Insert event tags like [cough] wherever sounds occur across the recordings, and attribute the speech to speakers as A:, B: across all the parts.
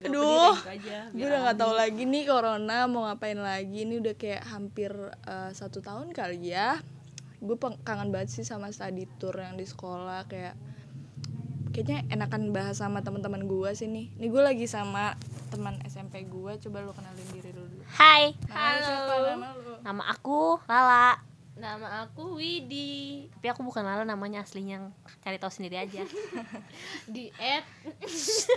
A: Aduh,
B: Udah, gitu aja,
A: gue
B: biar
A: udah nggak
B: aman.
A: tahu lagi nih corona mau ngapain lagi. Ini udah kayak hampir eh, satu tahun kali ya. Gue peng- kangen banget sih sama study tour yang di sekolah kayak kayaknya enakan bahas sama teman-teman gue sih nih. Nih gue lagi sama teman SMP gue. Coba lu kenalin diri lu dulu.
C: Hai,
A: Halo. Siapa nama lu?
C: nama aku Lala.
B: Nama aku Widi
C: Tapi aku bukan Lala namanya aslinya. Cari tahu sendiri aja.
B: di app
A: [laughs]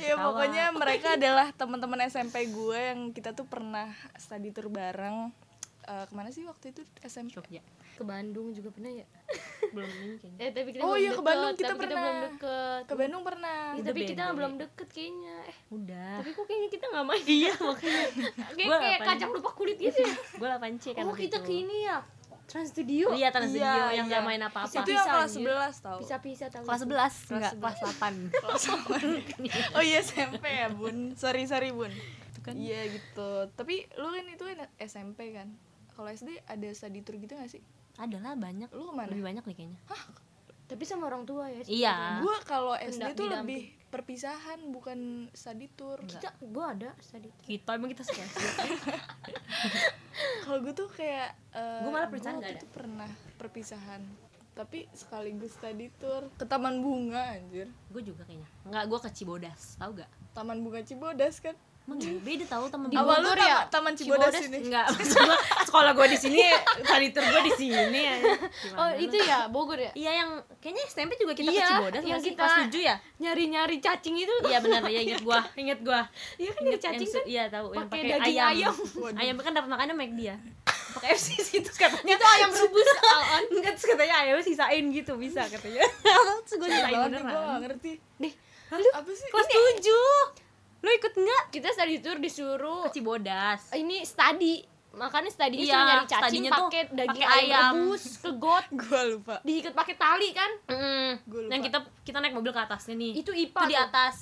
A: Ya pokoknya mereka adalah teman-teman SMP gue yang kita tuh pernah study tour bareng. Eh, kemana sih waktu itu SMP?
C: Jogja.
D: ke Bandung juga pernah ya
C: Belum ini kayaknya.
B: eh tapi kita
A: Oh
B: belum
A: iya, ke Bandung
B: deket,
A: kita
B: tapi
A: pernah.
B: kita belum deket
A: Ke Bandung pernah.
D: Ya,
C: Udah
D: tapi kita
C: beda,
D: belum deket kayaknya eh
C: Udah.
D: tapi kok kayaknya kita nggak main [laughs] iya makanya kayak,
C: Gua
D: kayak
C: ngapain?
D: kacang lupa kulit gitu ya
C: Gue 8 C kan.
D: oh kita ke ini ya trans studio
C: Iya, Tanah
A: Iya,
C: Studio yang
A: iya.
C: gak main apa-apa.
A: Itu yang
D: Bisa,
A: kelas
D: anjir.
A: 11 tau
D: pisah-pisah tahu
C: Kelas 11, enggak kelas
A: [laughs]
C: 8.
A: Oh iya SMP ya bun Sorry sorry bun
C: Itu kan.
A: Iya gitu Tapi lu kan itu kan SMP kan Kalau SD ada study tour gitu gak sih?
C: Adalah banyak.
A: Lu kemana?
C: Lebih banyak nih kayaknya.
D: tapi sama orang tua ya
C: Iya.
A: Gue kalau SD
D: Enggak,
A: tuh
D: didamping.
A: lebih perpisahan Bukan study tour
D: kita gua ada tadi
C: Kita Gitu, emang kita sekian.
A: Kalau gue tuh kayak eh,
C: Gua malah
A: gua
C: perpisahan
A: waktu
C: nggak ada.
A: itu pernah perpisahan Tapi sekaligus study tour Ke Taman Bunga anjir
C: gue juga kayaknya. Enggak, gue ke Cibodas, tau gak?
A: Taman Bunga Cibodas kan
C: Emang ya? beda tau temen
A: Awal lu
D: Bogor
A: tama-
D: ya?
A: Taman Cibodas,
D: Cibodas
A: ini
C: Enggak, maksud gua, sekolah gue di sini, sanitur gue di sini. ya. Gimana
D: oh
C: lu?
D: itu ya Bogor ya
C: Iya yang kayaknya SMP juga kita
D: Iya,
C: ke Cibodas
D: yang
C: nggak sih?
D: kita-
C: Kelas 7 ya?
D: nyari-nyari cacing itu
C: Iya benar ya inget gua, inget gua.
D: iya kan
C: Inget
D: nyari cacing
C: yang su-
D: kan
C: Iya tahu yang
D: pakai
C: pakai
D: daging
C: ayam.
D: ayam.
C: [laughs] Ayam,
A: Waduh.
C: kan dapat makannya make dia. Pakai FC itu katanya.
D: kan? itu ayam rebus on
C: Enggak terus katanya ayamnya sisain gitu bisa katanya. [laughs] terus
A: Gue
C: gua sisain
A: gak
C: beneran.
A: ngerti
D: Deh,
A: Apa sih?
C: Kelas 7. Lu ikut enggak?
D: kita study tour
C: Ke
D: disuruh
C: Cibodas.
D: ini study makanya studinya
C: Iya,
D: suruh nyari cacing
C: studinya tuh
D: pakai daging
C: pakai
D: ayam,
C: ayam.
D: rebus ke got
A: Gue lupa
D: diikat pakai tali kan
C: Mm.
A: Gua lupa.
C: Yang kita kita naik mobil ke atasnya nih.
D: itu IPA
C: Itu di
D: tuh.
C: atas.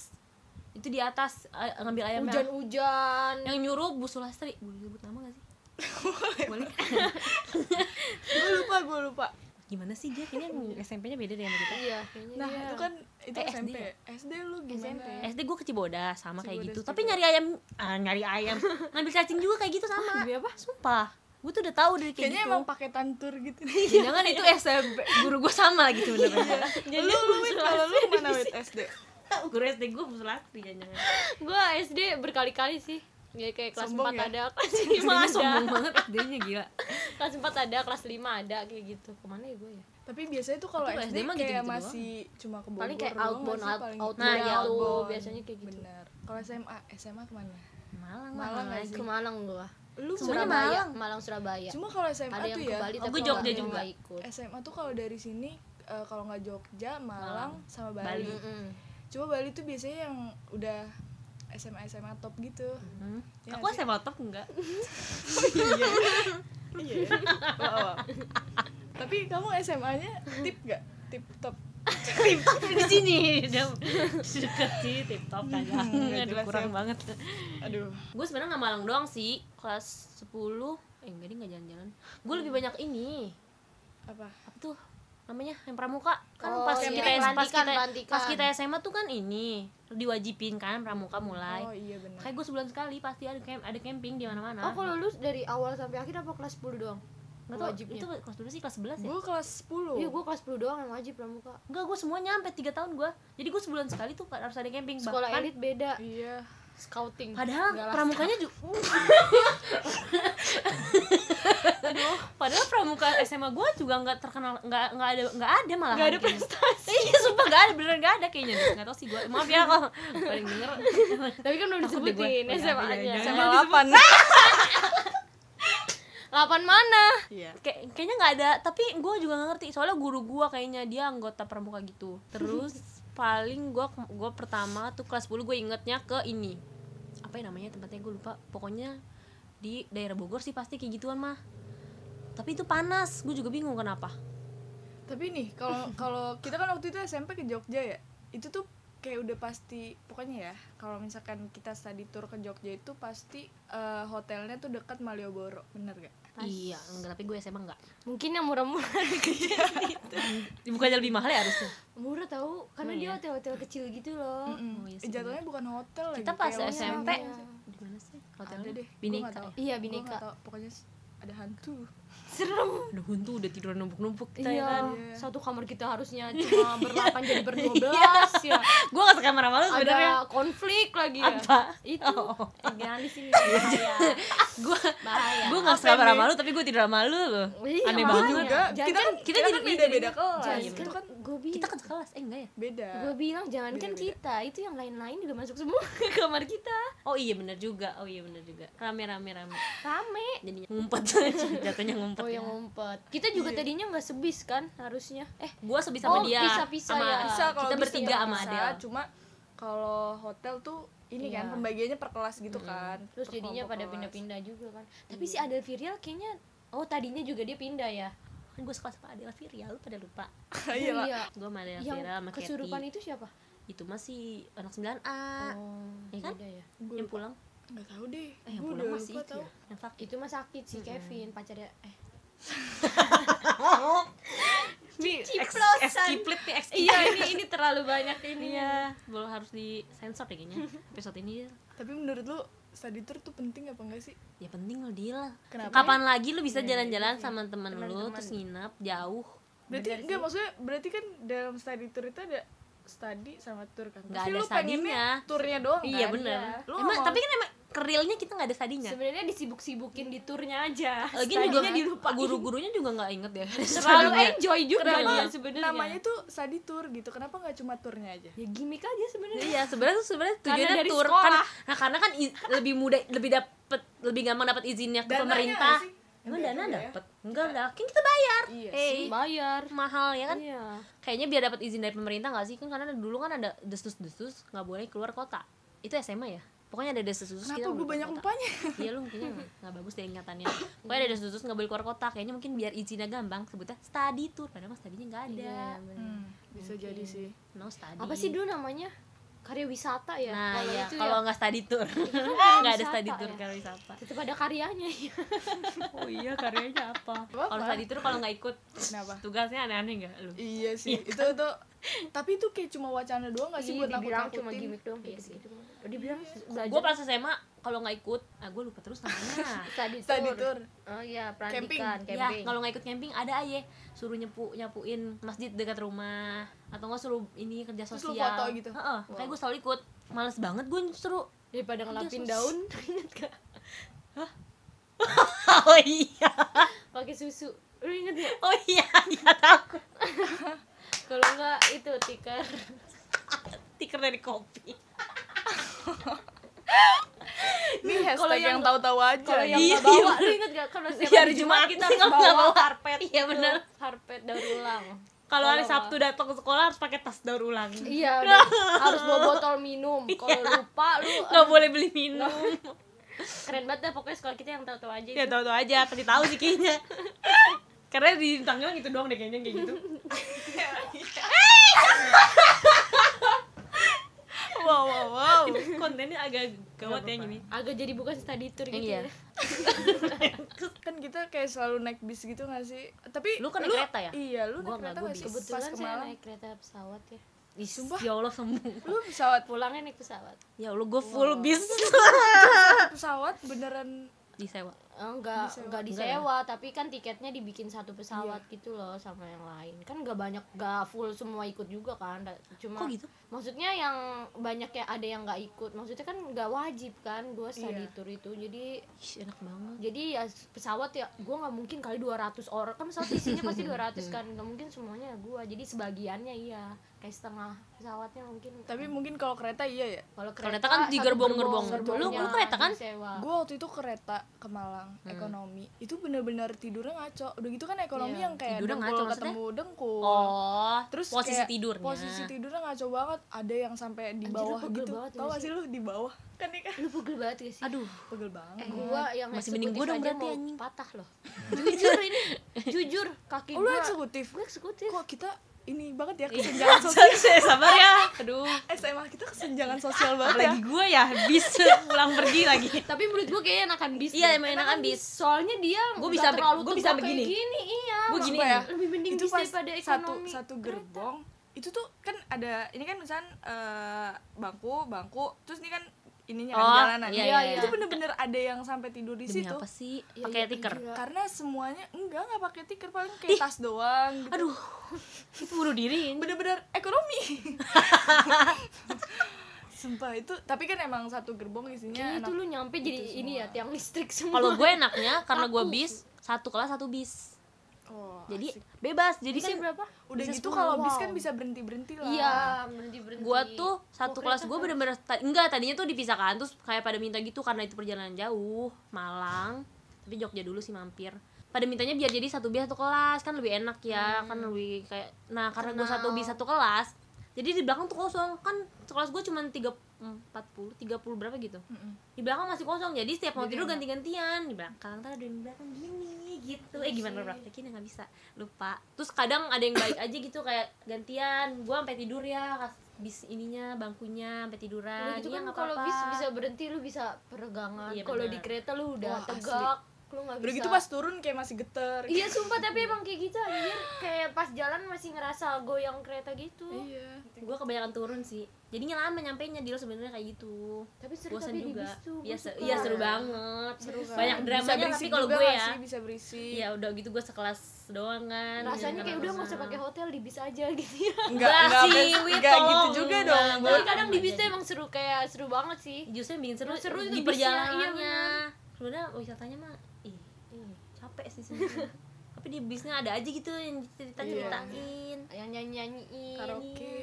C: Itu di atas eh, ngambil
D: ya?
C: ayamnya.
D: hujan-hujan
C: Yang nyuruh Bu Sulastri. Boleh nyebut nama gak [laughs] sih? Boleh.
A: gue lupa gue lupa
C: Gimana sih dia kayaknya
A: Iya.
C: yang SMP-nya beda dengan kita.
D: iya kayaknya
A: nah
D: iya.
A: itu kan itu
C: Eh,
A: SMP
C: SD ya?
A: SD lu gimana
D: SMP.
C: SD gue ke Cibodas sama kayak
A: Cibodas
C: gitu.
A: juga.
C: Tapi nyari ayam, ah, nyari ayam, ngambil cacing juga kayak gitu sama. Ngambil apa? Sumpah. Gue tuh udah tahu dari kayak
A: kayaknya
C: gitu. Iya,
A: emang paketan tour gitu
C: Jangan itu SMP guru gue sama gitu, lagi
A: Iya.
C: sebenarnya.
A: lu lu Wid, kalau lu mana wit SD
C: guru SD gue Busulastri jangan.
D: gue SD berkali-kali sih ya kayak kelas
A: Sombong
D: 4
A: ya?
D: [laughs] ada kelas 5
C: Gimana
D: ada
C: sombong banget SD-nya gila.
D: kelas 4 ada kelas 5 ada kayak gitu kemana ya gue ya
A: tapi biasanya tuh kalau
C: Tapi
A: SD,
C: SD mah
A: kayak
C: gitu-gitu
A: masih cuma ke Bogor
D: paling kayak
A: doang nggak
D: outbound
A: sih?
D: out,
A: Paling-
D: outbound
C: Nah, iya,
D: gitu.
A: outbound.
D: biasanya kayak gitu
A: bener kalau SMA SMA kemana
C: Malang,
A: Malang
C: Malang
A: nggak
C: lagi.
D: Nah, ke Malang gue
A: lu
C: Semuanya
A: berapa?
D: Surabaya
C: Malang.
D: Malang Surabaya
A: cuma kalau SMA
D: ada yang
A: tuh
D: ke
A: ya
D: Bali
C: Oh,
D: tapi
C: gue
D: nggak-
C: Jogja
D: nggak
C: juga.
D: ikut
A: SMA tuh kalau dari sini eh, kalau nggak Jogja Malang sama Bali.
C: Bali.
D: Mm-mm.
A: cuma Bali tuh biasanya yang udah SMA SMA top gitu
C: Hmm.
A: Ya,
C: Aku
A: sih.
C: SMA top
A: [laughs]
C: enggak?
A: Iya. Tapi kamu SMA-nya tip gak? Tip top.
C: Tip top di sini. Dia- Deket sih tip top
A: Hmm,
C: kan.
A: nggak
C: Aduh
A: jelas
C: kurang
A: ya.
C: banget.
A: Aduh.
C: gue sebenarnya nggak malang doang sih kelas 10 eh enggak deh nggak jalan-jalan gue lebih banyak ini
A: Apa?
C: apa tuh namanya yang pramuka kan
D: Oh,
C: pas
D: iya.
C: kita
D: Pelantikan,
C: pas kita
D: pelantikan.
C: pas kita SMA tuh kan ini diwajibin kan pramuka mulai
A: Oh iya benar.
C: kayak gue sebulan sekali pasti ada camp ada camping di mana-mana
D: oh kalau lu dari awal sampai akhir apa kelas 10 doang
C: Nggak tahu,
D: wajibnya. Hmm?
C: itu kelas berapa sih kelas 11 ya
A: Gue kelas 10.
D: iya gue kelas 10 doang yang wajib pramuka
C: Enggak, gue semuanya sampai 3 tahun gue Jadi gue sebulan sekali tuh harus ada camping
D: sekolah
C: Bahkan-
D: elit beda
A: Iya.
D: scouting
C: Padahal
D: Nggak lah.
C: pramukanya [laughs] juga Aduh, padahal pramuka SMA gue juga nggak terkenal nggak nggak ada nggak ada malah nggak ada prestasi iya sumpah nggak ada beneran nggak ada kayaknya Duh, nggak tau sih gue maaf ya kalau paling denger
D: tapi kan belum
C: Takut deh gue.
D: disebutin
C: Oh, iya,
D: SMA-nya
C: iya, iya.
A: SMA
C: Jangan
A: 8.
D: 8 mana
A: Iya.
C: Kayak- kayaknya nggak ada tapi gue juga nggak ngerti soalnya guru gue kayaknya dia anggota pramuka gitu [laughs] terus paling gue gue pertama tuh kelas 10 gue ingetnya ke ini apa ya namanya tempatnya gue lupa pokoknya di daerah Bogor sih pasti kayak gituan mah tapi itu panas gue juga bingung kenapa
A: Tapi nih, kalau kalau kita kan waktu itu SMP ke Jogja ya. Itu tuh kayak udah pasti pokoknya ya kalau misalkan kita study tour ke Jogja itu pasti eh, hotelnya tuh dekat Malioboro bener gak?
C: Iya, enggak, tapi gue SMA enggak.
D: Mungkin yang murah-murah
C: Bukannya lebih mahal ya harusnya.
D: Murah tahu karena dia hotel-hotel kecil gitu loh
A: Mm-mm.
C: iya sih,
A: Jatuhnya bukan hotel lagi.
C: Kita pas
A: kayak
C: SMP
A: hotel.
C: di mana sih?
A: Ada deh. gua nggak
C: Bineka.
A: tahu.
C: ya?
D: Iya
A: Gua nggak
D: bineka
A: tahu, Pokoknya s- ada hantu.
C: Aduh, hantu udah tidur numpuk-numpuk kita ya kan.
A: Iya.
D: Iya, satu kamar kita harusnya cuma [laughs] berdelapan jadi
A: [laughs]
D: berdua belas [laughs] ya.
C: Gue gak suka marah-marah sebenarnya.
D: Ada konflik lagi ya.
C: Apa?
D: Itu.
C: Oh.
D: Eh, jangan di [laughs] sini bahaya.
C: Gue
D: Bahaya.
C: gue gak suka marah sama lu tapi gue tidur sama lu loh.
D: Iya,
C: Aneh
D: makanya.
C: banget.
A: Juga.
D: Jangan
A: Kita kan kita jadi beda-beda kelas.
D: Jangan
A: Itu
D: kan
A: kan
D: gue bilang,
C: Kita kan sekelas, eh enggak ya?
A: beda.
D: gue bilang jangan kan
A: Beda-beda.
D: kita, itu yang lain-lain juga masuk semua [laughs] ke kamar kita.
C: Oh iya bener juga. Oh iya bener juga. Rame-rame rame.
D: Rame.
C: Jadinya ngumpet [laughs] jatuhnya ngumpet. ya.
D: Oh yang ngumpet. Kita juga tadinya nggak sebis kan harusnya. Eh,
C: Gue sebisa sama
D: Oh,
C: dia.
D: pisah-pisah
C: sama-
D: ya.
A: bisa kalau
C: Kita
A: bisa
C: bertiga
A: ya
C: sama
A: bisa,
C: Adele.
A: Cuma kalau hotel tuh ini kan
D: Iya.
A: pembagiannya per kelas gitu kan.
D: terus
A: per
D: jadinya
A: kelompok
D: pada
A: kelas.
D: pindah-pindah juga kan. Tapi si Adel Virial kayaknya oh tadinya juga dia pindah ya.
C: Kan gue sekelas sama Adela Viria, lu pada lupa.
A: [laughs] Iya lah.
C: Gue sama Adela
D: Yang
C: Viria sama
D: kesurupan
C: Kathy.
D: itu siapa?
C: Itu masih anak 9A.
D: Oh,
C: Ya kan?
D: beda ya.
A: Gua
C: Yang
A: lupa.
C: pulang.
A: Nggak tahu deh.
C: Eh yang
A: Gua
C: pulang
A: udah
C: masih
A: lupa
C: itu
A: tahu.
C: ya. Yang sakit.
D: Itu mah sakit si Kevin pacarnya eh
C: Nih,
D: Ciplosan.
C: ex kiplit nih, ex
D: Iya ini ini terlalu banyak ini.
C: Iya, belum harus disensor deh kayaknya. Episode ini
A: Tapi menurut lu study tour tuh penting apa enggak sih?
C: ya penting lo deal lah.
A: Kenapa?
C: Kapan lagi lu bisa jalan-jalan sama temen lu terus nginep jauh?
A: Berarti enggak maksudnya berarti kan dalam study tour itu ada study sama tour kan.
C: Nggak
A: Pasti
C: ada
A: lu pengennya
C: study-nya.
A: Tournya doang
C: iya
A: kan?
C: bener.
A: Lu
C: Emang
A: mau-
C: tapi kan emang kerilnya kita nggak ada sadinya.
D: Sebenarnya disibuk-sibukin di turnya aja.
C: Lagi juga
D: Tadinya dilupa.
C: guru-gurunya juga nggak inget ya.
D: Terlalu enjoy juga
A: Kenapa
D: dia sebenarnya.
A: namanya tuh study tour gitu. Kenapa nggak cuma tournya aja?
D: ya gimmick aja sebenarnya.
C: Iya, sebenarnya tuh- sebenarnya tujuannya
D: dari
C: tur
D: sekolah.
C: kan. Nah, karena kan i- lebih mudah, lebih dapet, lebih gampang dapat izinnya ke
A: Dananya
C: pemerintah.
A: nggak sih?
C: Emang
A: Enggak
C: dana
A: juga ya.
C: dapet? Enggak lah, kan kita bayar.
A: Iya
C: Hey,
D: Bayar.
C: mahal ya kan?
D: Iya.
C: kayaknya biar dapat izin dari pemerintah nggak sih kan karena dulu kan ada destus-destus nggak boleh keluar kota itu SMA ya pokoknya ada destus-destus
A: Kenapa
C: nggak
A: gue
C: boleh
A: banyak
C: keluar kota.
A: upahnya?
D: [laughs]
C: iya lu mungkin nggak- nggak bagus deh ingatannya pokoknya ada destus-destus nggak boleh keluar kota kayaknya mungkin biar izinnya gampang sebutnya study tour padahal mas tadinya nggak ada
A: Hmm, bisa jadi sih.
C: no study
D: Iya, Apa sih dulu namanya? Karya wisata ya.
C: nah
D: kalau
C: ya
D: itu
C: kalau
D: ya
C: nggak study tour [laughs]
D: kan
C: nggak ada
D: wisata
C: study tour
D: ya.
C: kalau wisata
D: tetap ada karyanya ya.
C: oh iya karyanya apa
A: Apa?
C: [laughs] kalau study tour kalau nggak ikut [laughs]
A: Kenapa?
C: tugasnya aneh-aneh nggak lu
A: Iya sih. itu tuh tapi itu kayak cuma wacana doang gak sih
D: Iya,
A: buat aku
D: dibilang cuma
A: takutin?
D: gimmick doang kayak gitu. kan Dibilang
C: gue
D: belajar
C: pas SMA kalau nggak ikut ah gue lupa terus namanya
D: study
A: Study
D: tour.
A: tour.
D: Oh iya,
A: Camping.
D: pelantikan, camping.
C: Ya, kalau nggak ikut camping ada aja suruh nyapu nyapuin masjid dekat rumah atau nggak suruh ini kerja
A: Terus lu
C: sosial.
A: foto gitu?
C: Heeh, makanya gue selalu ikut. Males banget gue suruh.
D: daripada ngelapin [laughs] daun, inget gak?
C: [laughs] Oh iya.
D: Pakai susu. Lu inget gak?
C: Oh iya, iya takut.
D: Kalau enggak itu tikar.
C: Tiker dari kopi.
A: Ini hashtag yang tahu-tahu aja.
D: Kalau yang
C: Iya,
D: nggak bawa, lu inget gak? Kalau setiap
C: Iya, hari Jumat
D: kita harus
C: nggak
D: bawa,
C: bawa
D: karpet.
C: Iya, bener.
D: tuh, Karpet daur ulang.
C: Kalau hari Sabtu datang ke sekolah harus pakai tas daur ulang.
D: Iya, udah. harus bawa botol [laughs] minum. Kalau lupa lu
C: Nggak boleh beli minum.
D: keren banget dah pokoknya sekolah kita yang tahu-tahu aja.
C: ya tahu-tahu aja, kasih tahu sih kayaknya. [laughs] Karena di Tangerang itu doang deh kayaknya kayak [laughs] gitu.
A: wow wow wow.
C: Kontennya agak gawat ya gini.
D: Agak jadi bukan study tour gitu.
C: Iya.
D: ya.
A: [laughs] Kan kita kayak selalu naik bis gitu gak sih? Tapi
C: Lu kan naik kereta ya?
A: Iya, lu
C: Gua
A: naik
C: nggak,
A: kereta
C: gua
A: gak sih?
C: bis.
A: Pas
D: Kebetulan
A: ke
D: saya
A: Malang.
D: naik kereta pesawat ya.
C: Ih, ya Allah sembuh.
A: Lu pesawat
D: Pulangnya naik pesawat.
C: Ya Allah, gue full bis
A: pesawat beneran
C: [laughs] disewa.
D: Eh, Enggak, enggak disewa, tapi kan tiketnya dibikin satu pesawat
A: Iya.
D: gitu loh sama yang lain. Kan enggak banyak, enggak full semua ikut juga kan. Da- Cuma
C: Kok gitu?
D: Maksudnya yang banyak yang ada yang enggak ikut. Maksudnya kan enggak wajib kan gua study
A: Iya.
D: tour itu. Jadi
C: Ih, enak banget.
D: jadi ya s- pesawat ya gua nggak mungkin kali 200 orang kan pesawat isinya pasti
C: [laughs]
D: 200 kan
C: Hmm.
D: nggak mungkin semuanya gua jadi sebagiannya iya kayak setengah pesawatnya mungkin
A: tapi mungkin kalau kereta iya ya.
D: kalau
C: Kalau kereta kan di
D: satu
C: gerbong-gerbong.
D: gerbong,
C: Lu- lu
D: gerbongnya
C: kereta kan?
D: disewa.
A: Gue waktu itu kereta ke Malang ekonomi itu bener-bener tidurnya ngaco. Udah gitu kan ekonomi
D: Iya.
A: yang kayak
C: Tidurnya
A: dengkul
C: ngaco, maksudnya?
A: ketemu dengkul.
C: Oh,
A: Terus
C: posisi
A: kayak
C: tidurnya.
A: Posisi tidurnya ngaco banget. Ada yang sampai di
D: Anjir, lu
A: bawah
D: pegel
A: gitu.
D: banget
A: Tau
D: gak
A: gak sih lu di bawah? Kan ini kan
D: lu pegel banget gak sih
C: Aduh,
A: pegel banget.
D: Eh, gua yang
C: Masih
D: Masih
C: mending
D: mending
C: gua dong
D: aja
C: berarti,
D: mau
C: anjing. [laughs]
D: patah loh. Jujur ini, jujur kaki
A: Oh, lu
D: gua. Iya.
A: eksekutif.
D: Gua eksekutif.
A: Kok kita ini banget ya kesenjangan
C: [laughs]
A: sosial
C: [laughs] Saya sabar ya. Aduh,
A: SMA kita kesenjangan sosial banget ya
C: apalagi gue ya habis pulang pergi lagi.
D: tapi menurut gue kayaknya enakan bis
C: Iya,
D: deh.
C: emang enakan bis.
D: soalnya dia
C: Gua
D: nggak
C: bisa be-
D: terlalu
C: gua
D: tegak
C: bisa
D: kayak
C: begini.
D: gini iya
C: Gua gini.
A: Sumpah ya.
D: lebih mending
A: itu
D: bis
A: pas
D: daripada
A: satu
D: ekonomi
A: satu gerbong itu tuh kan ada ini kan misalnya eh, bangku bangku terus ini kan ininya kan
C: Oh,
A: jalanan
C: iya,
D: iya,
A: itu
D: iya.
A: bener-bener ada yang sampai tidur di
C: Demi
A: situ
C: apa sih?
D: Iya,
C: Pakai
D: iya,
C: tiker.
D: anjir.
A: karena semuanya enggak nggak pakai tiker paling kayak tas doang gitu.
C: Aduh. Itu bunuh diri.
A: bener-bener ekonomi sumpah itu tapi kan emang satu gerbong
D: Kayaknya
C: Iya,
A: isinya
D: itu
C: gitu
A: anak-
D: lu nyampe jadi ini ya tiang
C: [laughs]
D: listrik semua
C: Kalau gue enaknya karena gue
D: Aku.
C: bis, satu kelas satu bis.
A: Oh,
C: Jadi
A: asik.
C: bebas. Jadi
D: Bisa
C: kan
D: berapa
A: udah
C: bisa
A: gitu
C: 10,
A: kalau bis kan
D: wow.
A: bisa berhenti berhenti lah
D: [laughs] iya berhenti berhenti
C: gue tuh satu kelas gue bener-bener ta- enggak tadinya tuh dipisahkan terus kayak pada minta gitu karena itu perjalanan jauh Malang tapi Jogja dulu sih mampir pada mintanya biar jadi satu bis satu kelas kan lebih enak ya kan lebih kayak nah karena gue satu bis satu kelas jadi di belakang tuh kosong kan kelas gue cuma tiga empat puluh tiga puluh berapa gitu di belakang masih kosong jadi setiap mau tidur ganti-gantian di belakang ntar ada yang di belakang gini gitu eh
D: Iya,
C: gimana praktekin ya nggak bisa lupa terus kadang ada yang baik aja gitu kayak gantian gua sampai tidur ya kas- bis ininya bangkunya sampai tiduran
D: Udah gitu
C: iya
D: kan
C: nggak
D: kalau
C: apa-apa
D: bis bisa berhenti lu bisa peregangan
C: Iya,
D: kalau di
C: benar.
D: kereta lu udah
A: Wah, asli.
D: tegak lu nggak bisa
A: udah gitu pas turun kayak masih geter
D: iya sumpah tapi emang kayak gitu anjir kayak pas jalan masih ngerasa goyang kereta gitu
A: iya
C: gua kebanyakan turun sih jadinya lama nyampainya di lo sebenarnya kayak gitu
D: tapi seru
C: bosan
D: tapi di
C: juga
D: bis tuh gua
C: iya se-
D: suka.
C: iya seru banget
A: seru kan?
C: banyak
A: Bisa
C: dramanya tapi
A: berisik
C: kalau
A: juga
C: gue
A: nggak
C: ya
A: sih? bisa berisik
C: iya udah gitu gua sekelas doang kan
D: rasanya kayak udah nggak
C: nggak
D: usah pakai hotel di bis aja [laughs] gitu
C: Iya,
D: ya
A: enggak
C: Enggak
A: enggak
C: sih,
A: sampai-
C: Wi,
A: enggak gitu
C: tolong.
A: juga
C: Enggak,
A: dong
C: enggak.
A: Gua-
D: tapi kadang di bis tuh
C: Jadi.
D: emang seru kayak seru banget sih
C: justru yang bikin seru,
D: Yang seru
C: di
D: di bisnya, iya
C: perjalanannya
D: benar.
C: sebenarnya wisatanya mah ih capek sih [laughs] sebenarnya tapi di bisnya ada aja gitu yang cerita ceritain Iya.
D: yang nyanyi nyanyiin
A: Karaoke.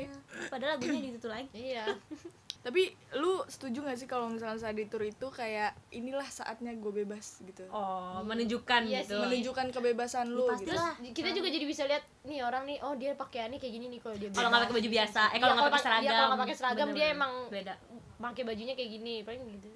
C: padahal lagunya di situ lagi
D: iya
A: tapi lu setuju gak sih kalau misalnya saat di tour itu kayak inilah saatnya gue bebas gitu
C: oh Ya, menunjukkan
D: Iya
C: gitu
D: sih.
A: menunjukkan kebebasan lu
C: Pasti
A: gitu
C: lah.
D: kita juga jadi bisa lihat nih orang nih oh dia pakaiannya kayak gini nih kalau dia
C: kalau nggak pakai baju biasa eh kalau
D: Iya,
C: nggak
D: kalau
C: pakai
D: pa-
C: seragam
D: iya, kalau nggak pakai seragam, dia
C: Bener-bener.
D: emang-
C: beda
D: pakai bajunya kayak gini paling [laughs] gitu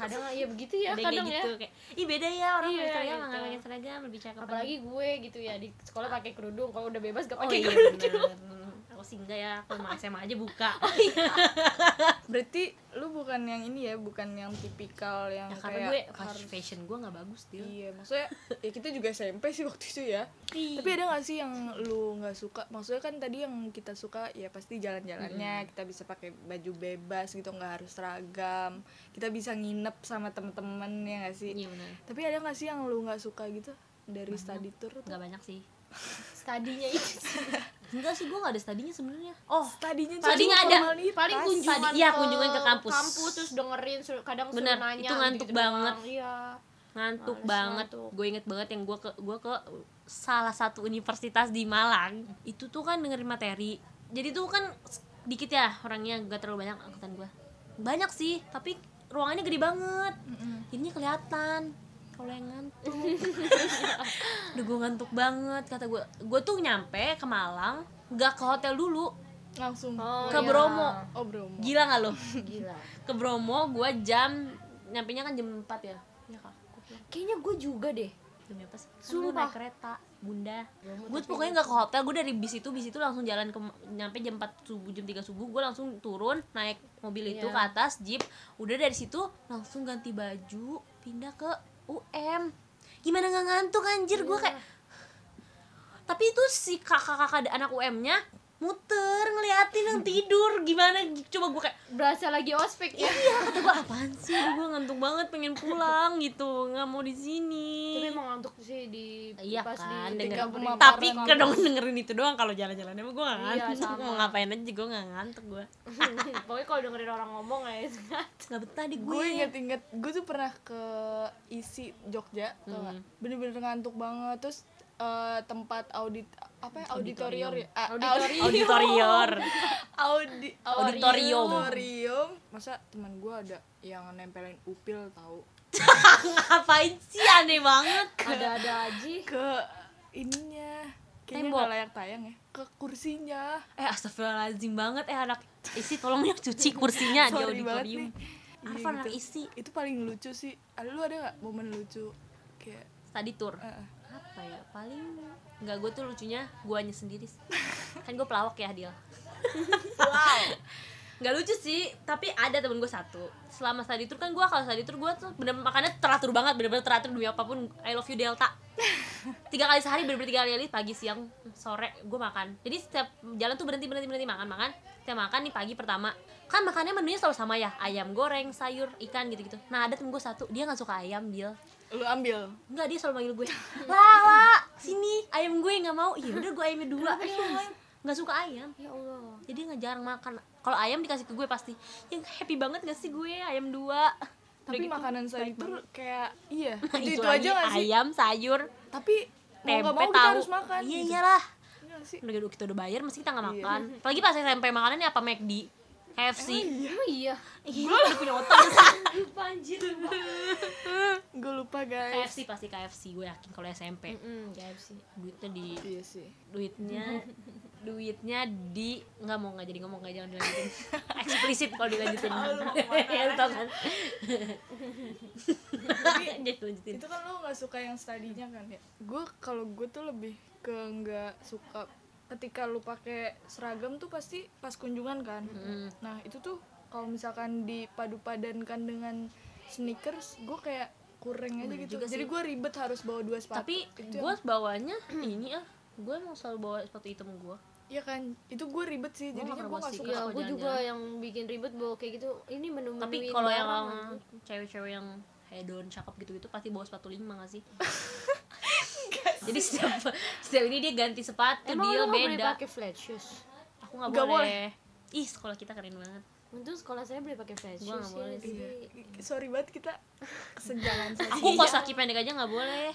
D: kadang ya begitu ya
C: Ada yang
D: kadang
C: kayak
D: ya
C: gitu kayak ih beda ya orang
D: Iya,
C: pakai seragam sama nggak
D: gitu.
C: pakai seragam lebih cakep
D: apalagi gue gitu ya di sekolah pakai kerudung kalau udah bebas gak
C: oh
D: pakai [laughs]
C: iya
D: kerudung
C: bener aku sih enggak ya aku sama SMA aja buka
D: Iya,
A: berarti lu bukan yang ini ya bukan yang tipikal yang
C: ya, karena
A: kayak
C: gue
A: harus
C: fashion gue nggak bagus dia
A: iya maksudnya ya kita juga SMP sih waktu itu ya tapi ada gak sih yang lu nggak suka maksudnya kan tadi yang kita suka ya pasti jalan-jalannya kita bisa pakai baju bebas gitu nggak harus seragam kita bisa nginep sama temen-temen ya gak sih
C: iya benar
A: tapi ada gak sih yang lu nggak suka gitu dari study tour tuh?
C: nggak banyak sih
D: stadinya itu
C: enggak sih gue nggak ada studinya sebenarnya oh
A: Studinya tuh
C: Studinya
A: cuma
C: ada.
A: formalitas.
D: paling kunjungan
C: Tadi- iya, kunjungan ke kampus.
D: kampus terus dengerin sur- kadang suruh
C: Benar,
D: nanya
C: itu ngantuk
D: gitu-gitu doang.
C: banget.
D: iya
C: ngantuk
D: Males
C: banget
D: ngantuk.
C: gue inget banget yang gue ke gue ke salah satu universitas di Malang itu tuh kan dengerin materi jadi tuh kan dikit ya orangnya gak terlalu banyak angkatan gue banyak sih tapi ruangannya gede banget jadinya kelihatan kalau yang
D: [laughs]
C: ngantuk udah gue ngantuk banget kata gue gue tuh nyampe ke Malang gak ke hotel dulu
A: langsung
D: Oh,
C: ke
D: iya.
C: Bromo
A: oh Bromo
C: gila gak lo
D: gila
C: ke Bromo gue jam nyampe nya kan jam 4 ya ya kak Gua pulang.
D: kayaknya gue juga deh
C: demi apa sih? Kan gua
D: Sumpah.
C: naik kereta, bunda.
D: Bromo
C: Gue pokoknya nggak ke hotel, gue dari bis itu, bis itu langsung jalan ke nyampe jam 4 subuh, jam 3 subuh, gue langsung turun naik mobil itu
D: Iya.
C: ke atas jeep. Udah dari situ langsung ganti baju, pindah ke UM. Gimana nggak ngantuk anjir gue
D: Iya.
C: kayak tapi itu si kakak-kakak ada anak UM-nya muter ngeliatin yang tidur gimana coba gue kayak
D: berasa lagi ospek ya
C: kata gue apaan sih gue ngantuk banget pengen pulang gitu nggak mau di sini
D: tapi emang ngantuk sih di
C: Iya
D: pas
C: kan,
D: di
C: denger,
A: denger-
D: pemaparan
C: tapi
A: kampus.
C: kadang dengerin itu doang kalau jalan-jalan emang gue gak
D: Iya,
C: ngantuk
D: sama.
C: mau ngapain aja gue gak ngantuk gue
D: [laughs] pokoknya kalau dengerin orang ngomong ya
C: nggak betah di gue
A: gue inget-inget gue tuh pernah ke isi Jogja tau nggak?
C: Hmm.
A: bener-bener ngantuk banget terus eh, tempat audit apa ya? auditorium ya? Ah, audi-
D: [laughs]
C: auditorior
A: audi-
C: Auditorium.
A: auditorium masa teman gue ada yang nempelin upil tahu
C: ngapain sih aneh banget
D: ada ada aja
A: ke ininya kayaknya
C: Tembok.
A: nggak layak tayang ya ke kursinya
C: eh astagfirullahaladzim banget eh anak isi tolong ya cuci kursinya di
A: Sorry banget
C: auditorium
A: nih. Iya,
C: Arfan anak
A: gitu.
C: isi
A: itu paling lucu sih Ah, lu ada nggak momen lucu kayak
C: tadi tour
A: eh, eh.
C: apa apa ya paling nggak gue tuh lucunya guanya sendiri sih. kan gue pelawak ya Adil wow [laughs] nggak lucu sih tapi ada temen gue satu selama study tour kan gue kalau study tour gue tuh bener makannya teratur banget bener-bener teratur demi apapun I love you Delta tiga kali sehari bener-bener tiga kali kali, pagi siang sore gue makan jadi setiap jalan tuh berhenti berhenti berhenti makan makan setiap makan nih pagi pertama kan makannya menunya selalu sama ya ayam goreng sayur ikan gitu gitu nah ada temen gue satu dia nggak suka ayam Dil
A: lu ambil
C: Enggak dia selalu
A: [laughs]
C: manggil gue lah lah sini ayam gue nggak mau iya udah gue ayamnya dua [laughs] nggak suka ayam
D: ya Allah
C: jadi nggak jarang makan kalau ayam dikasih ke gue pasti yang happy banget gak sih gue ayam dua gitu.
A: tapi makanan saya itu kayak iya
C: [laughs] Nah,
A: itu, itu aja
C: lagi,
A: gak sih
C: ayam sayur
A: tapi mau nggak
C: tempe
A: mau kita
C: tahu
A: harus makan
C: iya
A: gitu.
C: iyalah
A: Iya nggak sih
C: udah udah kita udah bayar mesti kita nggak
A: Iya.
C: makan apalagi pas SMP makanannya apa McD KFC
D: emang iya
C: Ih, lu pada punya otak gak sih?
D: lupa anjir lupa
A: gue lupa guys
C: KFC pasti KFC gue yakin kalau SMP
A: Mm.
D: Mm-mm, KFC
C: duitnya di
A: iya sih [laughs]
C: duitnya duitnya di nggak mau nggak jadi ngomong nggak jangan dilanjutin eksplisit kalau
A: [laughs]
C: dilanjutin [laughs] ya lu tau kan [laughs] jadi lanjutin
A: itu kan lo nggak suka yang studinya kan ya gue kalau gue tuh lebih ke nggak suka ketika lu pakai seragam tuh pasti pas kunjungan kan
C: Hmm.
A: nah itu tuh kalau misalkan dipadu padankan dengan sneakers gue kayak kurang aja gitu
C: juga
A: jadi
C: sih.
A: gue ribet harus bawa dua sepatu
C: tapi
A: Itu yang- [clears throat]
C: gue bawanya ini ah gue emang selalu bawa sepatu hitam gue
A: Iya kan, itu gue ribet sih,
C: Gua
A: jadinya
C: nggak
A: gue
C: pernah
A: gak
C: sih.
A: suka
C: Iya.
D: ya
C: Kalau
D: gue juga
C: jalan-jalan.
D: yang bikin ribet bawa kayak gitu ini menu
C: tapi kalau yang cewek-cewek yang hedon cakep gitu-gitu pasti bawa sepatu lima gak sih jadi setiap setiap ini dia ganti sepatu
D: emang
C: dia
D: lu nggak boleh
C: beda
D: pakai flat shoes
C: aku nggak
A: Nggak
C: boleh.
A: boleh.
C: ih sekolah kita keren banget
D: untuk sekolah saya boleh pakai flat
C: Gua nggak
D: shoes ya,
C: boleh.
D: jadi
A: Sorry banget kita kesenjangan sih.
C: aku kos kaki pendek aja nggak
A: [laughs]
C: boleh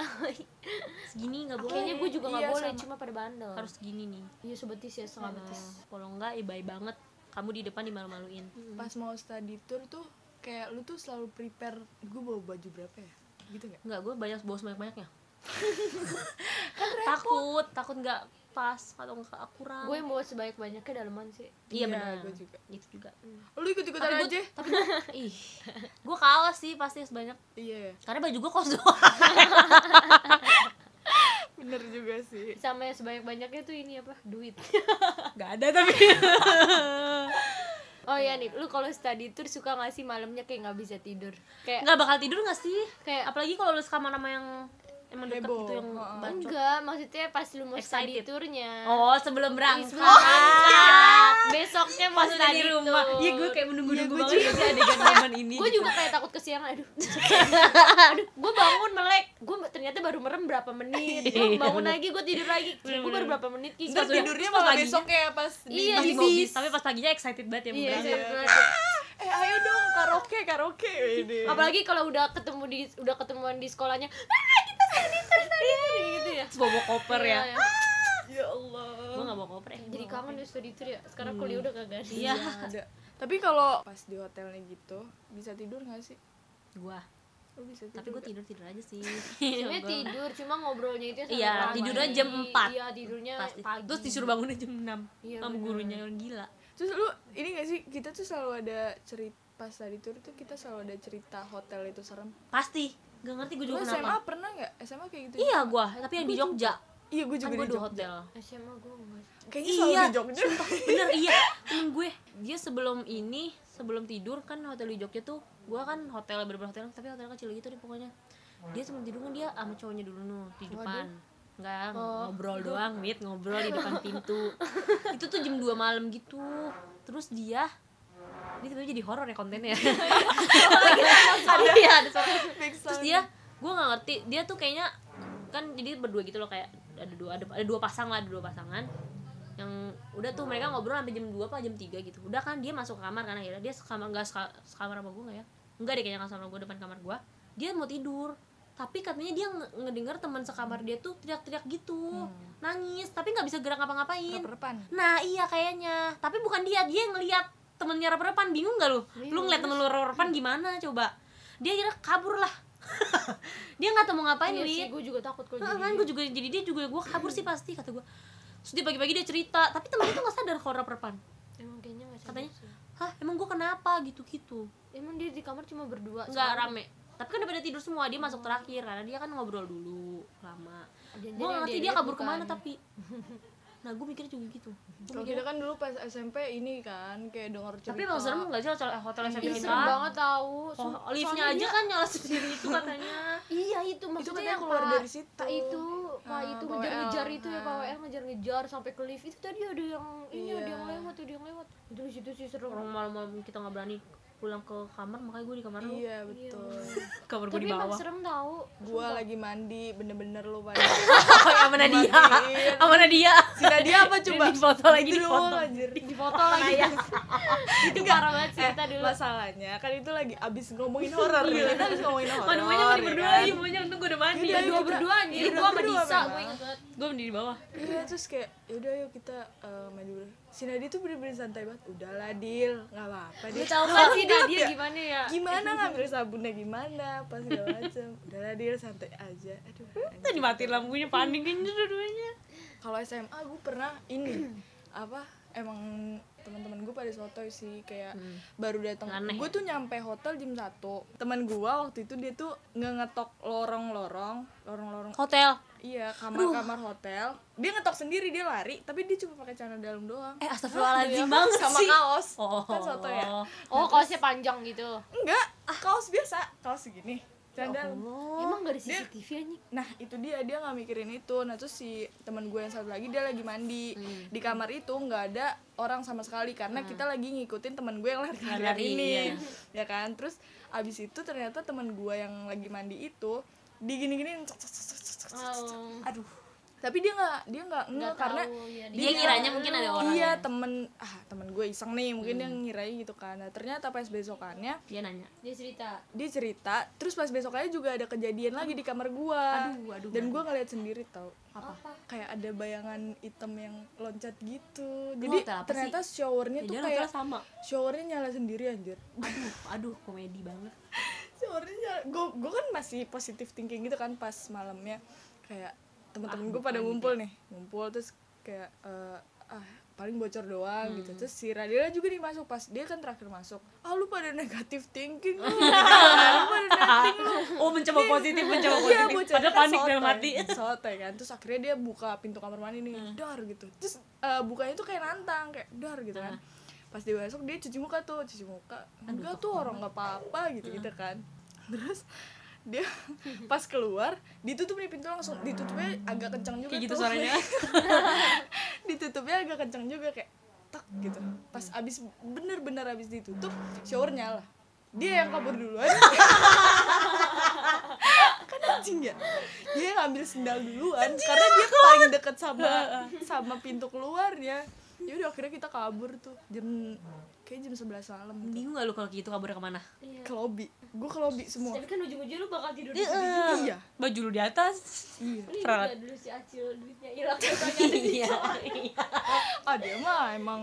C: segini nggak boleh
D: kayaknya gue juga nggak
A: Iya,
D: boleh
A: sama.
D: cuma pada bandel
C: harus gini nih Nah,
D: iya sebetis ya setengah betis
C: kalau nggak ibai banget kamu di depan dimalu-maluin
A: Pas mau study tour tuh kayak lu tuh selalu prepare gue bawa baju berapa ya? Gitu gak?
C: nggak gue banyak bawa sebanyak banyaknya takut takut nggak pas atau nggak akurat
D: gue yang bawa sebanyak banyaknya daleman sih
A: Iya,
C: iya benar
A: gua juga.
C: itu juga
A: Lu ikut-ikutan
C: Tapi gua-
A: aja.
C: tapi gua,
A: [laughs]
C: ih gue kalah sih pasti sebanyak
A: Iya,
C: karena baju gue kos doang
A: bener juga sih.
D: sama yang sebanyak banyaknya tuh ini apa
C: [laughs]
D: duit
C: nggak ada tapi
D: oh ya nih lu kalau study tour suka nggak sih malamnya kayak nggak bisa tidur kayak
C: [laughs] nggak bakal tidur nggak sih
D: kayak
C: apalagi kalau lu kamar sama yang emang deket
A: Heboh.
C: gitu yang
A: Heeh.
C: bacot
D: enggak maksudnya pas lu mau study
C: Excited.
D: tournya
C: oh sebelum
A: Iya.
C: berangkat
D: besoknya mau
C: pas udah
D: study
C: di rumah
D: tour
C: iya gue kayak
A: Iya,
C: menunggu-nunggu
A: gua
C: banget sih adegan momen ini
D: gue
C: gitu.
D: juga kayak takut kesiangan
C: [laughs]
D: aduh aduh gue bangun melek gue ternyata baru merem berapa menit
C: Iya.
D: gue bangun lagi gue tidur lagi gue baru berapa menit Ki.
A: Ntar
C: Pas udah-
A: tidurnya
C: pas
A: malah
C: paginya.
A: besok ya pas di
D: Iya,
C: Pas di
D: bis.
C: mobil tapi pas paginya excited banget ya mau
D: iya
C: berangkat.
D: iya.
A: Eh ayo dong karaoke karaoke ini.
C: iya.
D: apalagi kalau udah ketemu di udah ketemuan di sekolahnya "Ah, kita study tour study
C: Iya,
D: tour," gitu ya
C: terus bawa koper ya
D: Iya, iya.
A: Ya Allah.
C: gue nggak bawa koper ya
D: jadi kangen ya study tour ya
C: Hmm.
D: sekarang kuliah udah kagak ada
C: iya
A: Ada. Tapi kalau pas di hotelnya gitu bisa tidur gak sih?
C: gue
A: Lu bisa tidur.
C: tapi gue tidur tidur aja sih
D: Sebenarnya tidur cuma ngobrolnya itu sampai
C: Iya,
D: malam
C: tidurnya
D: lagi.
C: jam 4.
D: iya tidurnya
C: pasti
D: pagi
C: terus disuruh bangunnya jam 6
D: Iya,
C: sama
D: bener.
C: gurunya yang gila
A: Terus lu ini gak sih kita tuh selalu ada cerita pas tadi tour tuh kita selalu ada cerita hotel itu serem.
C: pasti gak ngerti gue
A: Lu
C: juga
A: SMA
C: kenapa
A: pernah nggak? SMA kayak gitu.
C: iya gue tapi yang di Jogja
A: Iya gue juga
C: kan gue
A: di
C: di
A: Jogja.
C: hotel
D: SMA gue enggak
A: Kayaknya selalu
C: iya
A: di Jogja.
C: sumpah, bener iya temen gue dia sebelum ini sebelum tidur kan hotel di Jogja tuh gue kan hotel bener hotel tapi hotel kecil gitu deh pokoknya dia sebelum tidur kan dia sama cowoknya dulu nuh di depan Enggak, ngobrol doang, mit ngobrol di depan pintu Itu tuh jam 2 malam gitu Terus dia Ini tiba-tiba jadi horor ya kontennya Ada, iya, ada suara terus dia gue nggak ngerti dia tuh kayaknya kan jadi berdua gitu loh kayak ada dua ada, ada dua pasang lah ada dua pasangan yang udah tuh mereka ngobrol sampai jam 2 apa jam 3 gitu udah kan dia masuk ke kamar kan akhirnya dia sekamar nggak seka- sekamar sama gue nggak ya enggak deh kayaknya nggak sama gue depan kamar gue dia mau tidur tapi katanya dia nge- ngedengar teman sekamar dia tuh teriak-teriak gitu nangis tapi nggak bisa gerak ngapa-ngapain
A: Repan.
C: nah iya kayaknya tapi bukan dia dia yang ngeliat temennya rep-repan bingung gak lu lu ngeliat temen lu rep-repan gimana coba dia akhirnya kabur lah [laughs] dia nggak tahu mau ngapain
D: iya sih
C: wit
D: gue juga takut kalau
C: Heeh,
D: jadi
C: kan gue juga jadi dia juga gue kabur sih pasti kata gue terus dia pagi-pagi dia cerita tapi temennya tuh nggak sadar kalau rep-repan
D: emang kayaknya nggak sadar
C: Katanya?
D: sih.
C: hah emang gue kenapa gitu gitu
D: emang dia di kamar cuma berdua
C: nggak
D: sekarang.
C: rame tapi kan udah pada tidur semua dia masuk terakhir karena dia kan ngobrol dulu lama
D: Jangan-jangan
C: gue
D: yang
C: ngerti
D: dia
C: dia
D: lihat
C: kabur
D: bukan.
C: kemana tapi nah gue mikirnya juga gitu
A: Kalau
C: Gua mikirnya,
A: kita kan dulu pas SMP ini kan kayak denger cerita.
C: tapi emang serem nggak sih hotel hotel SMP
D: Ih,
C: kita
D: Iya, serem banget tahu.
C: oh,
D: Su-
C: liftnya
D: soalnya
C: aja
D: dia-
C: kan nyala sendiri itu katanya
D: [laughs] Iya itu maksudnya
A: katanya
D: yang
A: keluar
D: Pak-
A: dari situ.
D: Pak itu, Pak
A: Ah,
D: itu
A: Pak
D: ngejar-ngejar
A: WL.
D: itu ya Pak
A: Ah.
D: WL ngejar-ngejar sampai ke lift. Itu tadi ada yang ini ada yang
A: Iya.
D: lewat, ada yang lewat. Itu di situ sih seru.
C: orang malam-malam kita nggak berani pulang ke kamar makanya gue di kamar lu
A: Iya betul.
C: kamar gue
D: Tapi
C: di
D: emang
C: bawah
D: serem tahu.
A: Gua lagi mandi bener-bener lu pada.
C: [laughs] sama Nadia
A: Matiin.
C: sama Nadia
A: Si Nadia apa coba?
C: di foto lagi di
A: doang,
C: foto
A: anjir.
D: Di foto lagi.
A: [laughs] itu parah
D: banget sih kita dulu.
A: Masalahnya kan itu lagi abis ngomongin horor ya. Kita abis ngomongin horor.
C: Mana maunya mandi
A: ya
C: berdua
A: kan?
C: aja, maunya untung gue udah mandi
A: Yaudah,
C: Berdua
A: yuk, kita-
C: berdua anjir,
A: yaudah,
C: gue sama
A: Iya, berdua
C: Disa,
A: memang.
C: gue inget banget Gue mandi di bawah
A: Iya terus kayak yaudah yuk kita eh, mandi berdua. Si Nadia tuh bener-bener santai banget. Udahlah Dil, nggak apa-apa. Dia
D: Tahu kan sih dia gimana ya?
A: gimana ngambil sabunnya gimana pas segala macam udahlah dia santai aja aduh
C: Kita dimatiin lampunya, panik kan dua-duanya
A: kalau SMA gue pernah ini [clears throat] apa emang teman-teman gue pada sotoy sih kayak
D: Hmm.
A: baru datang
D: ya?
C: Aneh.
A: gue tuh nyampe hotel jam 1 teman gue waktu itu dia tuh nge ngetok lorong-lorong lorong-lorong
C: Hotel
A: iya kamar-kamar hotel dia ngetok sendiri dia lari tapi dia cuma pakai celana dalam doang
C: Eh
A: Iya,
C: astagfirullahaladzim banget
A: sama
C: sih
A: kaos
C: Oh
A: kan soto ya
D: Oh, kaosnya panjang gitu.
A: enggak
C: Ah.
A: kaos biasa kaos segini celana dalam
C: Oh.
D: Emang gak ada CCTV anjing?
A: Nah itu dia dia nggak mikirin itu. Nah terus si teman gue yang satu lagi dia lagi mandi
C: Hmm.
A: di kamar itu nggak ada orang sama sekali karena kita lagi ngikutin teman gue yang lari larian
C: Lari,
A: ini,
C: iya.
A: [laughs] ya kan. Terus abis itu ternyata teman gue yang lagi mandi itu digini-giniin cek, cek, cek, cek, cek,
C: Hmm.
A: cek, cek.
D: Oh.
A: aduh tapi dia nggak dia nggak nggak karena
D: tahu, ya,
C: iya, Dia kiranya mungkin ada orang ya. Hmm.
A: iya temen ah temen gue iseng nih mungkin dia ngirain gitu kan nah, ternyata pas besokannya
C: Dia nanya
D: Dia cerita.
A: dia cerita terus pas besoknya juga ada kejadian lagi di kamar gua dan gua ngeliat sendiri tau apa kayak ada bayangan hitam yang loncat gitu jadi
C: hotel apa
A: ternyata showernya
C: Ya
A: tuh
C: dia
A: kayak
C: hotelnya sama
A: showernya nyala sendiri anjir
C: Aduh, aduh komedi banget
A: [laughs] showernya nyala gua, gua kan masih positive thinking gitu kan pas malamnya kayak teman-teman gua pada ngumpul nih ngumpul terus kayak eh, ah paling bocor doang gitu terus si Radila juga nih masuk pas dia kan terakhir masuk ah lu pada negative thinking lu lu pada negative lu
C: Oh mencoba positif, mencoba
A: Iya,
C: positif
A: bocah
C: Padahal
A: kan
C: panik
A: sotoy.
C: dalam hati
A: [laughs]
C: Hmm.
A: Sotoy kan Terus akhirnya dia buka pintu kamar mandi nih Dar gitu Terus eh, bukanya tuh kayak nantang Kayak dar gitu kan
C: Hmm.
A: Pas dia masuk dia cuci muka tuh Cuci muka Enggak tuh orang gak apa-apa gitu-gitu
C: Hmm.
A: kan Terus dia
C: [laughs]
A: pas keluar ditutup nih pintu langsung ditutupnya agak kencang juga
C: Kayak gitu
A: tuh.
C: suaranya
A: [laughs] ditutupnya agak kencang juga kayak tak gitu pas
C: Hmm.
A: abis bener-bener abis ditutup shower nyala dia yang kabur duluan
C: [laughs]
A: kan [laughs] anjing ya dia yang ngambil sendal duluan karena dia paling deket
C: [laughs]
A: sama sama pintu keluarnya ya udah akhirnya kita kabur tuh jam kayak jam 11 malam tuh.
C: Bingung gak lu kalau gitu kaburnya kemana?
A: ke lobby gue ke lobby semua
D: Iya. Tapi kan ujung-ujungnya lu bakal tidur
A: iya
C: Baju lu di atas
A: iya
D: Ini
C: Terat.
D: juga dulu si Acil duitnya [laughs] hilang katanya.
C: Iya
A: ah dia mah emang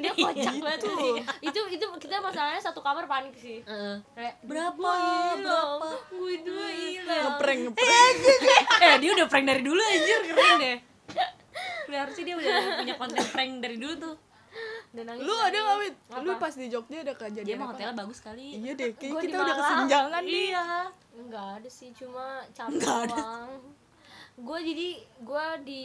D: dia kocak banget sih itu itu kita masalahnya satu kamar panik sih
A: Eh.
C: Heeh.
D: kayak
C: Berapa? Berapa?
D: gue dua hilang
A: ngeprank ngeprank
C: eh dia udah prank dari dulu anjir keren deh udah harusnya dia udah punya konten prank dari dulu tuh
D: dan nangis
A: lu ada nggak wit lu pas di Jogja ada kejadian
C: dia mah
A: apa?
C: hotelnya bagus kali iya.
A: Iya deh, kayak
D: Gua
A: kita
D: di
A: udah
D: Malang.
A: kesenjangan nih.
D: nggak ada sih cuma capek doang gue jadi gue di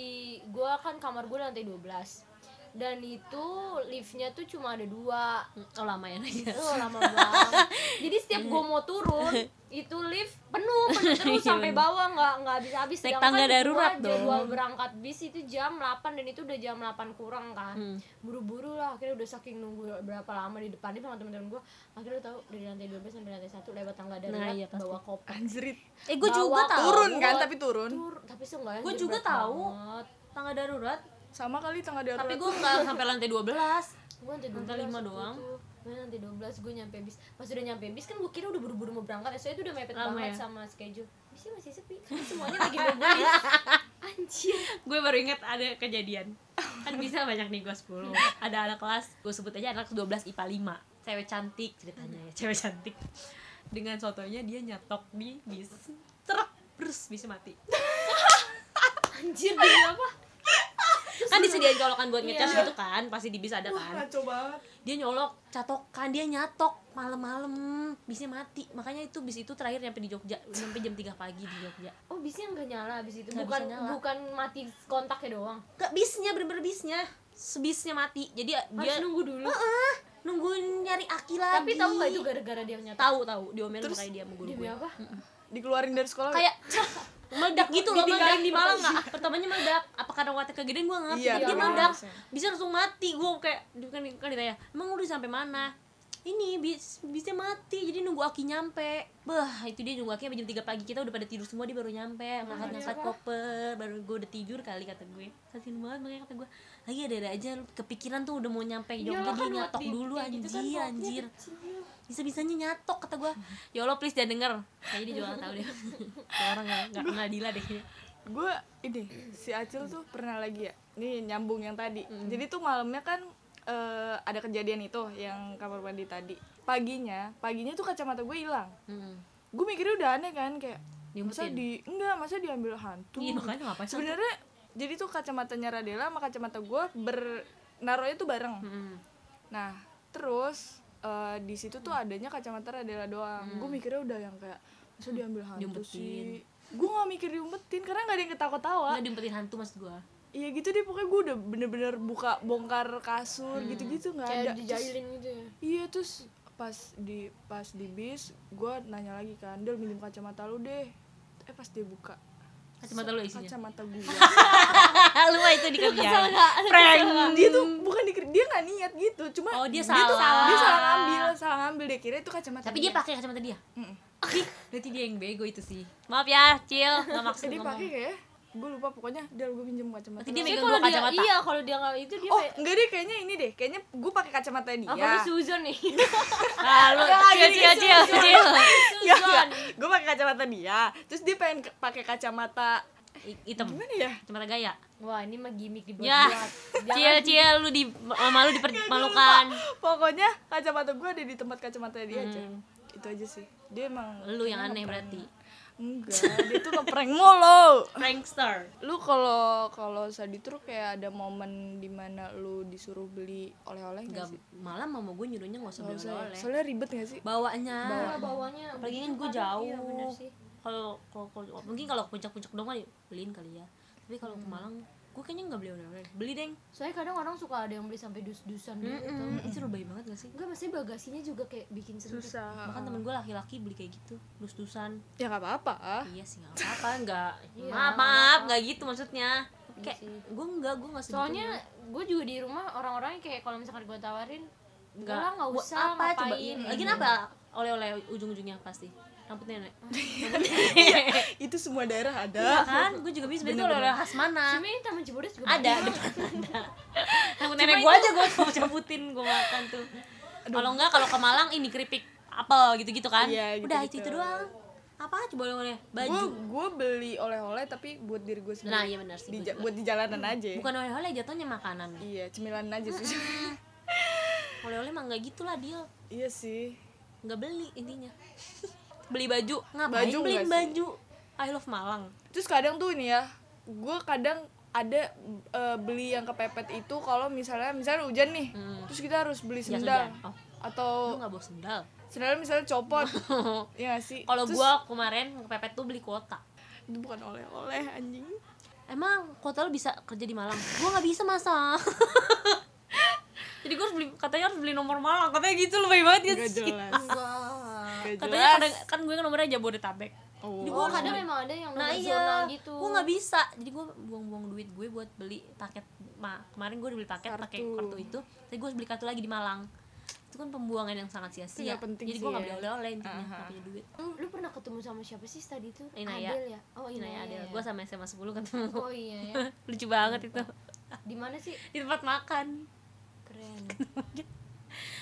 D: gue kan kamar gue di lantai 12 dan itu liftnya tuh cuma ada dua
C: oh lama ya naiknya.
D: Oh, lama banget. Jadi setiap gue mau turun, itu lift penuh, penuh terus
C: Iya,
D: sampai
C: bener.
D: bawah nggak nggak habis habis.
C: Naik tangga darurat dong.
D: Jadwal berangkat bis itu jam 8 dan itu udah jam 8 kurang kan.
C: Hmm.
D: Buru-buru lah akhirnya udah saking nunggu berapa lama di depan lift sama teman-teman gue. Akhirnya tahu dari lantai 12 sampai lantai 1 lewat tangga darurat
C: iya, pasti.
D: bawa koper.
A: Anjrit.
C: eh gue juga
D: Bawa
C: tahu
A: Turun kan
D: buat
A: tapi turun.
D: Tur, tapi seenggaknya
C: Gua
D: anjir,
C: juga
D: berat
C: tahu.
D: banget.
C: tangga darurat
A: Sama kali tangga darurat.
C: tapi gue nggak sampai lantai 12
D: gue nanti
C: Lantai lima doang.
D: gue nanti 12 gue nyampe bis pas udah nyampe bis kan gue kira udah buru-buru mau berangkat soalnya itu udah mepet
C: Lama
D: banget
C: ya?
D: sama schedule bisnya masih sepi karena semuanya lagi nunggu
C: [laughs]
D: bis anjir
C: gue baru inget ada kejadian kan bisa banyak nih gue 10 ada anak kelas gue sebut aja anak kelas 12 IPA 5 cewek cantik ceritanya ya cewek cantik dengan sotonya dia nyatok di bis truk terus bisa mati
D: anjir demi apa terus
C: kan disediain colokan buat ngecas
D: Iya.
C: gitu kan pasti di bis ada kan
E: Kacau banget.
C: dia nyolok catokan dia nyatok malam-malam bisnya mati makanya itu bis itu terakhir nyampe di Jogja sampai jam 3 pagi di Jogja
D: oh bisnya nggak nyala abis itu
C: Nggak
D: bukan
C: bisa nyala.
D: bukan mati kontaknya doang
C: ke bisnya bener-bener bisnya sebisnya mati jadi
D: harus
C: dia
D: nunggu dulu
C: Heeh, nungguin nyari aki lagi
D: tapi tahu nggak itu gara-gara dia nyata
C: tahu tahu diomelin
A: Terus
C: makanya dia sama guru
D: demi
C: gue
D: apa
A: dikeluarin dari sekolah
C: kayak cah, meledak gitu loh meledak di malam nggak pertamanya meledak apa karena watak kegedean gue ngerti
A: Iya,
C: dia
A: iya,
C: meledak
A: iya.
C: bisa langsung mati gue kayak di- kan, kan ditanya emang udah sampai mana ini bis bisnya mati jadi nunggu aki nyampe bah itu dia nunggu aki sampai jam 3 pagi kita udah pada tidur semua dia baru nyampe ngangkat ngangkat koper baru gue udah tidur kali kata gue kasian banget makanya kata gue lagi ada ada aja lu kepikiran tuh udah mau nyampe
D: Iya,
C: Jogja
D: kan
C: dia nyatok dulu anjir anjir bisa bisanya nyatok kata gue ya Allah please jangan denger kayaknya dia juga gak tau deh Kayak [laughs] orang gak, gak kenal Dila deh kayaknya.
A: gue ini si Acil tuh pernah lagi ya ini nyambung yang tadi jadi tuh malamnya kan eh, ada kejadian itu yang kamar mandi tadi paginya paginya tuh kacamata gue hilang
C: Mm.
A: gue mikirnya udah aneh kan kayak masa
C: Diumpetin?
A: di enggak masa diambil hantu
C: Iya, makanya ngapain sih?
A: sebenarnya jadi tuh kacamatanya Radela sama kacamata gue ber naruhnya tuh bareng
C: Mm.
A: Nah, terus eh, di situ tuh adanya kacamata Radela doang. Gue mikirnya udah yang kayak masa diambil hantu
C: Mm. Diumpetin.
A: sih. Gue gak mikir diumpetin karena gak ada yang ketawa-tawa.
C: Nggak diumpetin hantu maksud gue
A: Iya gitu deh pokoknya gue udah bener-bener buka bongkar kasur
C: Mm.
A: gitu-gitu nggak ada.
D: kayak
A: Terus-
D: dijailin gitu ya
A: iya terus pas di pas di bis gue nanya lagi kan Del minjem kacamata lu deh. Eh pas dia buka
C: Kacamata lu isinya
A: kacamata gue.
C: [laughs] Lu mah itu di kerjaan Prank
A: dia tuh bukan dikir- dia nggak niat gitu cuma
C: Oh, dia
A: tuh-
C: salah.
A: dia salah ngambil salah ngambil dia kira itu kacamata
C: Tapi dia pakai kacamata dia
A: Mm-mm.
C: Ih, Berarti dia yang bego itu sih Maaf ya, Cil Gak maksud
A: Jadi pakai
C: ngomong
A: kayak gue lupa pokoknya dia gue pinjem kacamata.
C: Berarti dia
A: lu.
C: megang
D: kalau
C: dua
D: dia
C: kacamata
D: iya kalau dia nggak itu dia
A: oh,
D: kayak
A: enggak deh kayaknya ini deh. Kayaknya gue pakai kacamata dia.
D: apa lu Suzon nih
C: Ah, lu Cil, Cil, Cil, Cil
A: Enggak, Gue pakai kacamata dia. Terus dia pengen ke- pakai kacamata
C: I- Hitam
A: gimana ya? [laughs]
C: Kacamata gaya
D: [laughs] wah ini mah gimmick
C: Ya
D: dibuat-buat
C: Cil, Cil, lu di Mama lu dipermalukan
A: Pokoknya kacamata gue ada di tempat kacamata dia aja.
C: Hmm.
A: Itu aja sih. Dia emang
C: Lu yang aneh berarti
A: enggak, dia tuh ngeprank mulu.
C: Prankster
A: Lu kalau kalau saditur kayak ada momen dimana lu disuruh beli oleh-oleh
C: Gak,
A: enggak
D: Iya
A: sih?
C: malah mama gue nyuruhnya gak usah
A: Nggak
C: beli
A: usah ya?
C: oleh
A: Soalnya ribet gak sih?
C: Bawaannya
D: Nah, bawahnya
C: Apalagi kan
D: begitu
C: gue
D: kadang, iya, bener
C: jauh
D: sih.
C: kalau kalau kalau- mungkin kalau ke puncak-puncak doang kan beliin kali ya tapi kalau
D: Hmm.
C: ke Malang gue kayaknya nggak beli oleh-oleh beli deng
D: soalnya kadang orang suka ada yang beli sampai dus-dusan gitu
C: Mm-mm. itu seru bayi banget gak sih
D: enggak maksudnya bagasinya juga kayak bikin sempit
A: Susah.
C: bahkan temen gue laki-laki beli kayak gitu dus-dusan
A: Ya nggak apa-apa.
C: iya sih nggak apa-apa nggak
D: Iya,
C: maaf maaf nggak gitu maksudnya kayak gue nggak gue nggak
D: soalnya gue juga di rumah orang-orangnya kayak kalau misalkan gue tawarin enggak lah nggak
C: nggak
D: usah
C: apa
D: ngapain Iya.
C: coba lagi apa oleh-oleh ujung-ujungnya pasti rambut nenek
A: Itu semua daerah
C: Iya
A: ada.
C: kan gue juga bisa beli tuh oleh-oleh khas mana
D: cuma ini taman Cibodas juga
C: ada depan [laughs] ada rambut Iya. nenek gue aja gue mau cabutin gue makan tuh kalau enggak kalau ke Malang ini keripik apel gitu-gitu kan
A: Iya,
C: udah itu
A: gitu-gitu.
C: itu doang apa coba boleh boleh
A: gue
C: Iya, baju
A: gue beli oleh-oleh tapi buat diri gue sendiri
C: Nah, iya benar sih,
A: Di
C: gua Hmm,
A: ja- buat di jalanan aja
C: bukan oleh-oleh jatuhnya makanan
A: iya cemilan aja sih
C: [laughs] oleh-oleh mah nggak gitulah dia
A: iya sih
C: nggak beli
A: [laughs]
C: intinya beli baju ngapain
A: Baju
C: beliin
A: nggak sih?
C: baju I love Malang
A: terus kadang tuh ini ya gue kadang ada eh, beli yang kepepet itu kalau misalnya misalnya hujan nih terus kita harus beli
C: Jas
A: sendal
C: Hmm. hujan. Oh.
A: atau
C: lu nggak bawa
A: [laughs]
C: sendal
A: sendalnya misalnya
C: [laughs]
A: copot Iya nggak sih
C: kalau
A: Terus,
C: gua kemarin kepepet tuh beli kuota
A: itu bukan oleh-oleh anjing
C: emang kuota lu bisa kerja di Malang gua nggak bisa masa [laughs] jadi gua harus beli katanya harus beli nomor Malang katanya gitu lu baik banget ya
A: gak
C: sih
A: [laughs] jelas gak jelas
C: katanya kadang- kan gue kan nomornya Jabodetabek
A: Oh.
C: jadi gue
D: oh kadang memang ada yang
C: nah
D: nomor
C: iya
D: zona gitu
C: gue nggak bisa jadi gue buang-buang duit gue buat beli paket ma kemarin gue beli paket pakai
A: Kartu.
C: kartu itu tapi gue harus beli kartu lagi di Malang itu kan pembuangan yang sangat
A: Itu
C: sia-sia
A: nggak penting
C: jadi
A: sih
C: gue
A: ya.
C: nggak beli oleh-oleh intinya nggak punya duit
D: lu, Hmm, lu pernah ketemu sama siapa sih tadi itu
C: Inaya.
D: Adel ya oh
A: Iya,
C: nah
D: Inaya,
C: ya ada
D: ya.
C: gue sama SMA 10 ketemu [laughs]
D: oh iya ya
C: lucu banget itu
A: Iya.
D: di mana sih
C: di tempat makan
D: keren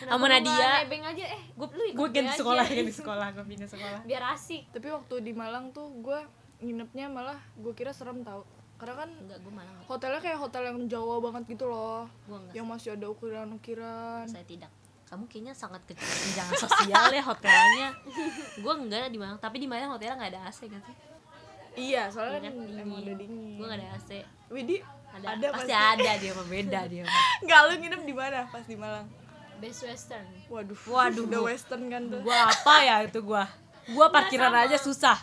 D: Kenapa
C: sama
D: lu nggak
C: Nadia
D: nebeng aja eh
C: gue
D: lu ikut
C: gue
D: gue
C: ganti
D: aja.
C: sekolah ganti sekolah gue pindah sekolah
D: biar asik
A: tapi waktu di Malang tuh gue nginepnya malah gue kira serem tau karena kan
C: enggak gue malah
A: hotelnya kayak hotel yang Jawa banget gitu loh
C: gue enggak
A: yang masih ada ukiran-ukiran
C: saya tidak kamu kayaknya sangat kesenjangan sosial ya hotelnya gue enggak di Malang tapi di Malang hotelnya nggak ada AC kan sih
A: iya soalnya
C: Iya kan,
A: emang udah dingin
C: gue nggak ada AC
A: Widhi
C: Ada,
A: Ada
C: pasti,
A: pasti.
C: ada dia mah beda dia. mah.
A: Enggak lu nginep di mana pas di Malang?
D: Best Western.
A: Waduh.
C: Waduh.
A: [laughs] Udah western kan tuh.
C: [laughs] Gua apa ya itu gua? Gua parkiran aja susah.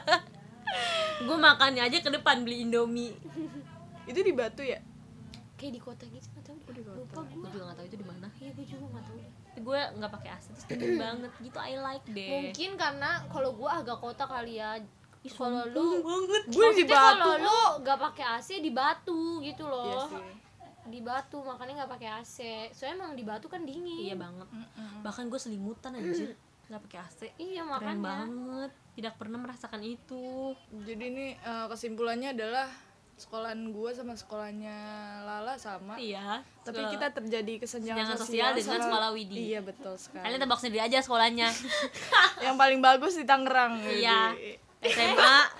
C: [laughs] gua makannya aja ke depan beli Indomie.
A: Itu di Batu ya?
D: Kayak di kota gitu nggak tahu deh. Lupa
C: Gua
D: gue.
C: juga gak tahu itu di mana.
D: Iya gue juga nggak tahu deh.
C: Gue nggak pakai AC terus dingin banget gitu. I like deh.
D: Mungkin karena kalau gue agak kota kali ya. Kalau
C: Dingin
D: lu
C: banget.
A: Gue di
D: Maksudnya Kalau
A: Batu.
D: lu gak pakai AC di Batu gitu loh.
A: Iya sih.
D: Di Batu makanya gak pakai AC. Soalnya emang di Batu kan dingin.
C: Iya banget. Bahkan gue selimutan anjir. nggak pakai AC. Keren
D: Iya, makanya.
C: banget. Tidak pernah merasakan itu.
A: Jadi ini eh, kesimpulannya adalah sekolahan gua sama sekolahnya Lala sama.
C: Iya.
A: Tapi
C: Sekolah-
A: kita terjadi kesenjangan
C: kesenjangan sosial
A: sosial,
C: dengan
A: sama-
C: sekolah Widi.
A: Iya betul sekali.
C: kalian tebak sendiri aja sekolahnya.
A: Yang paling bagus di Tangerang.
C: Iya.
A: Widi.
C: SMA
D: Eh,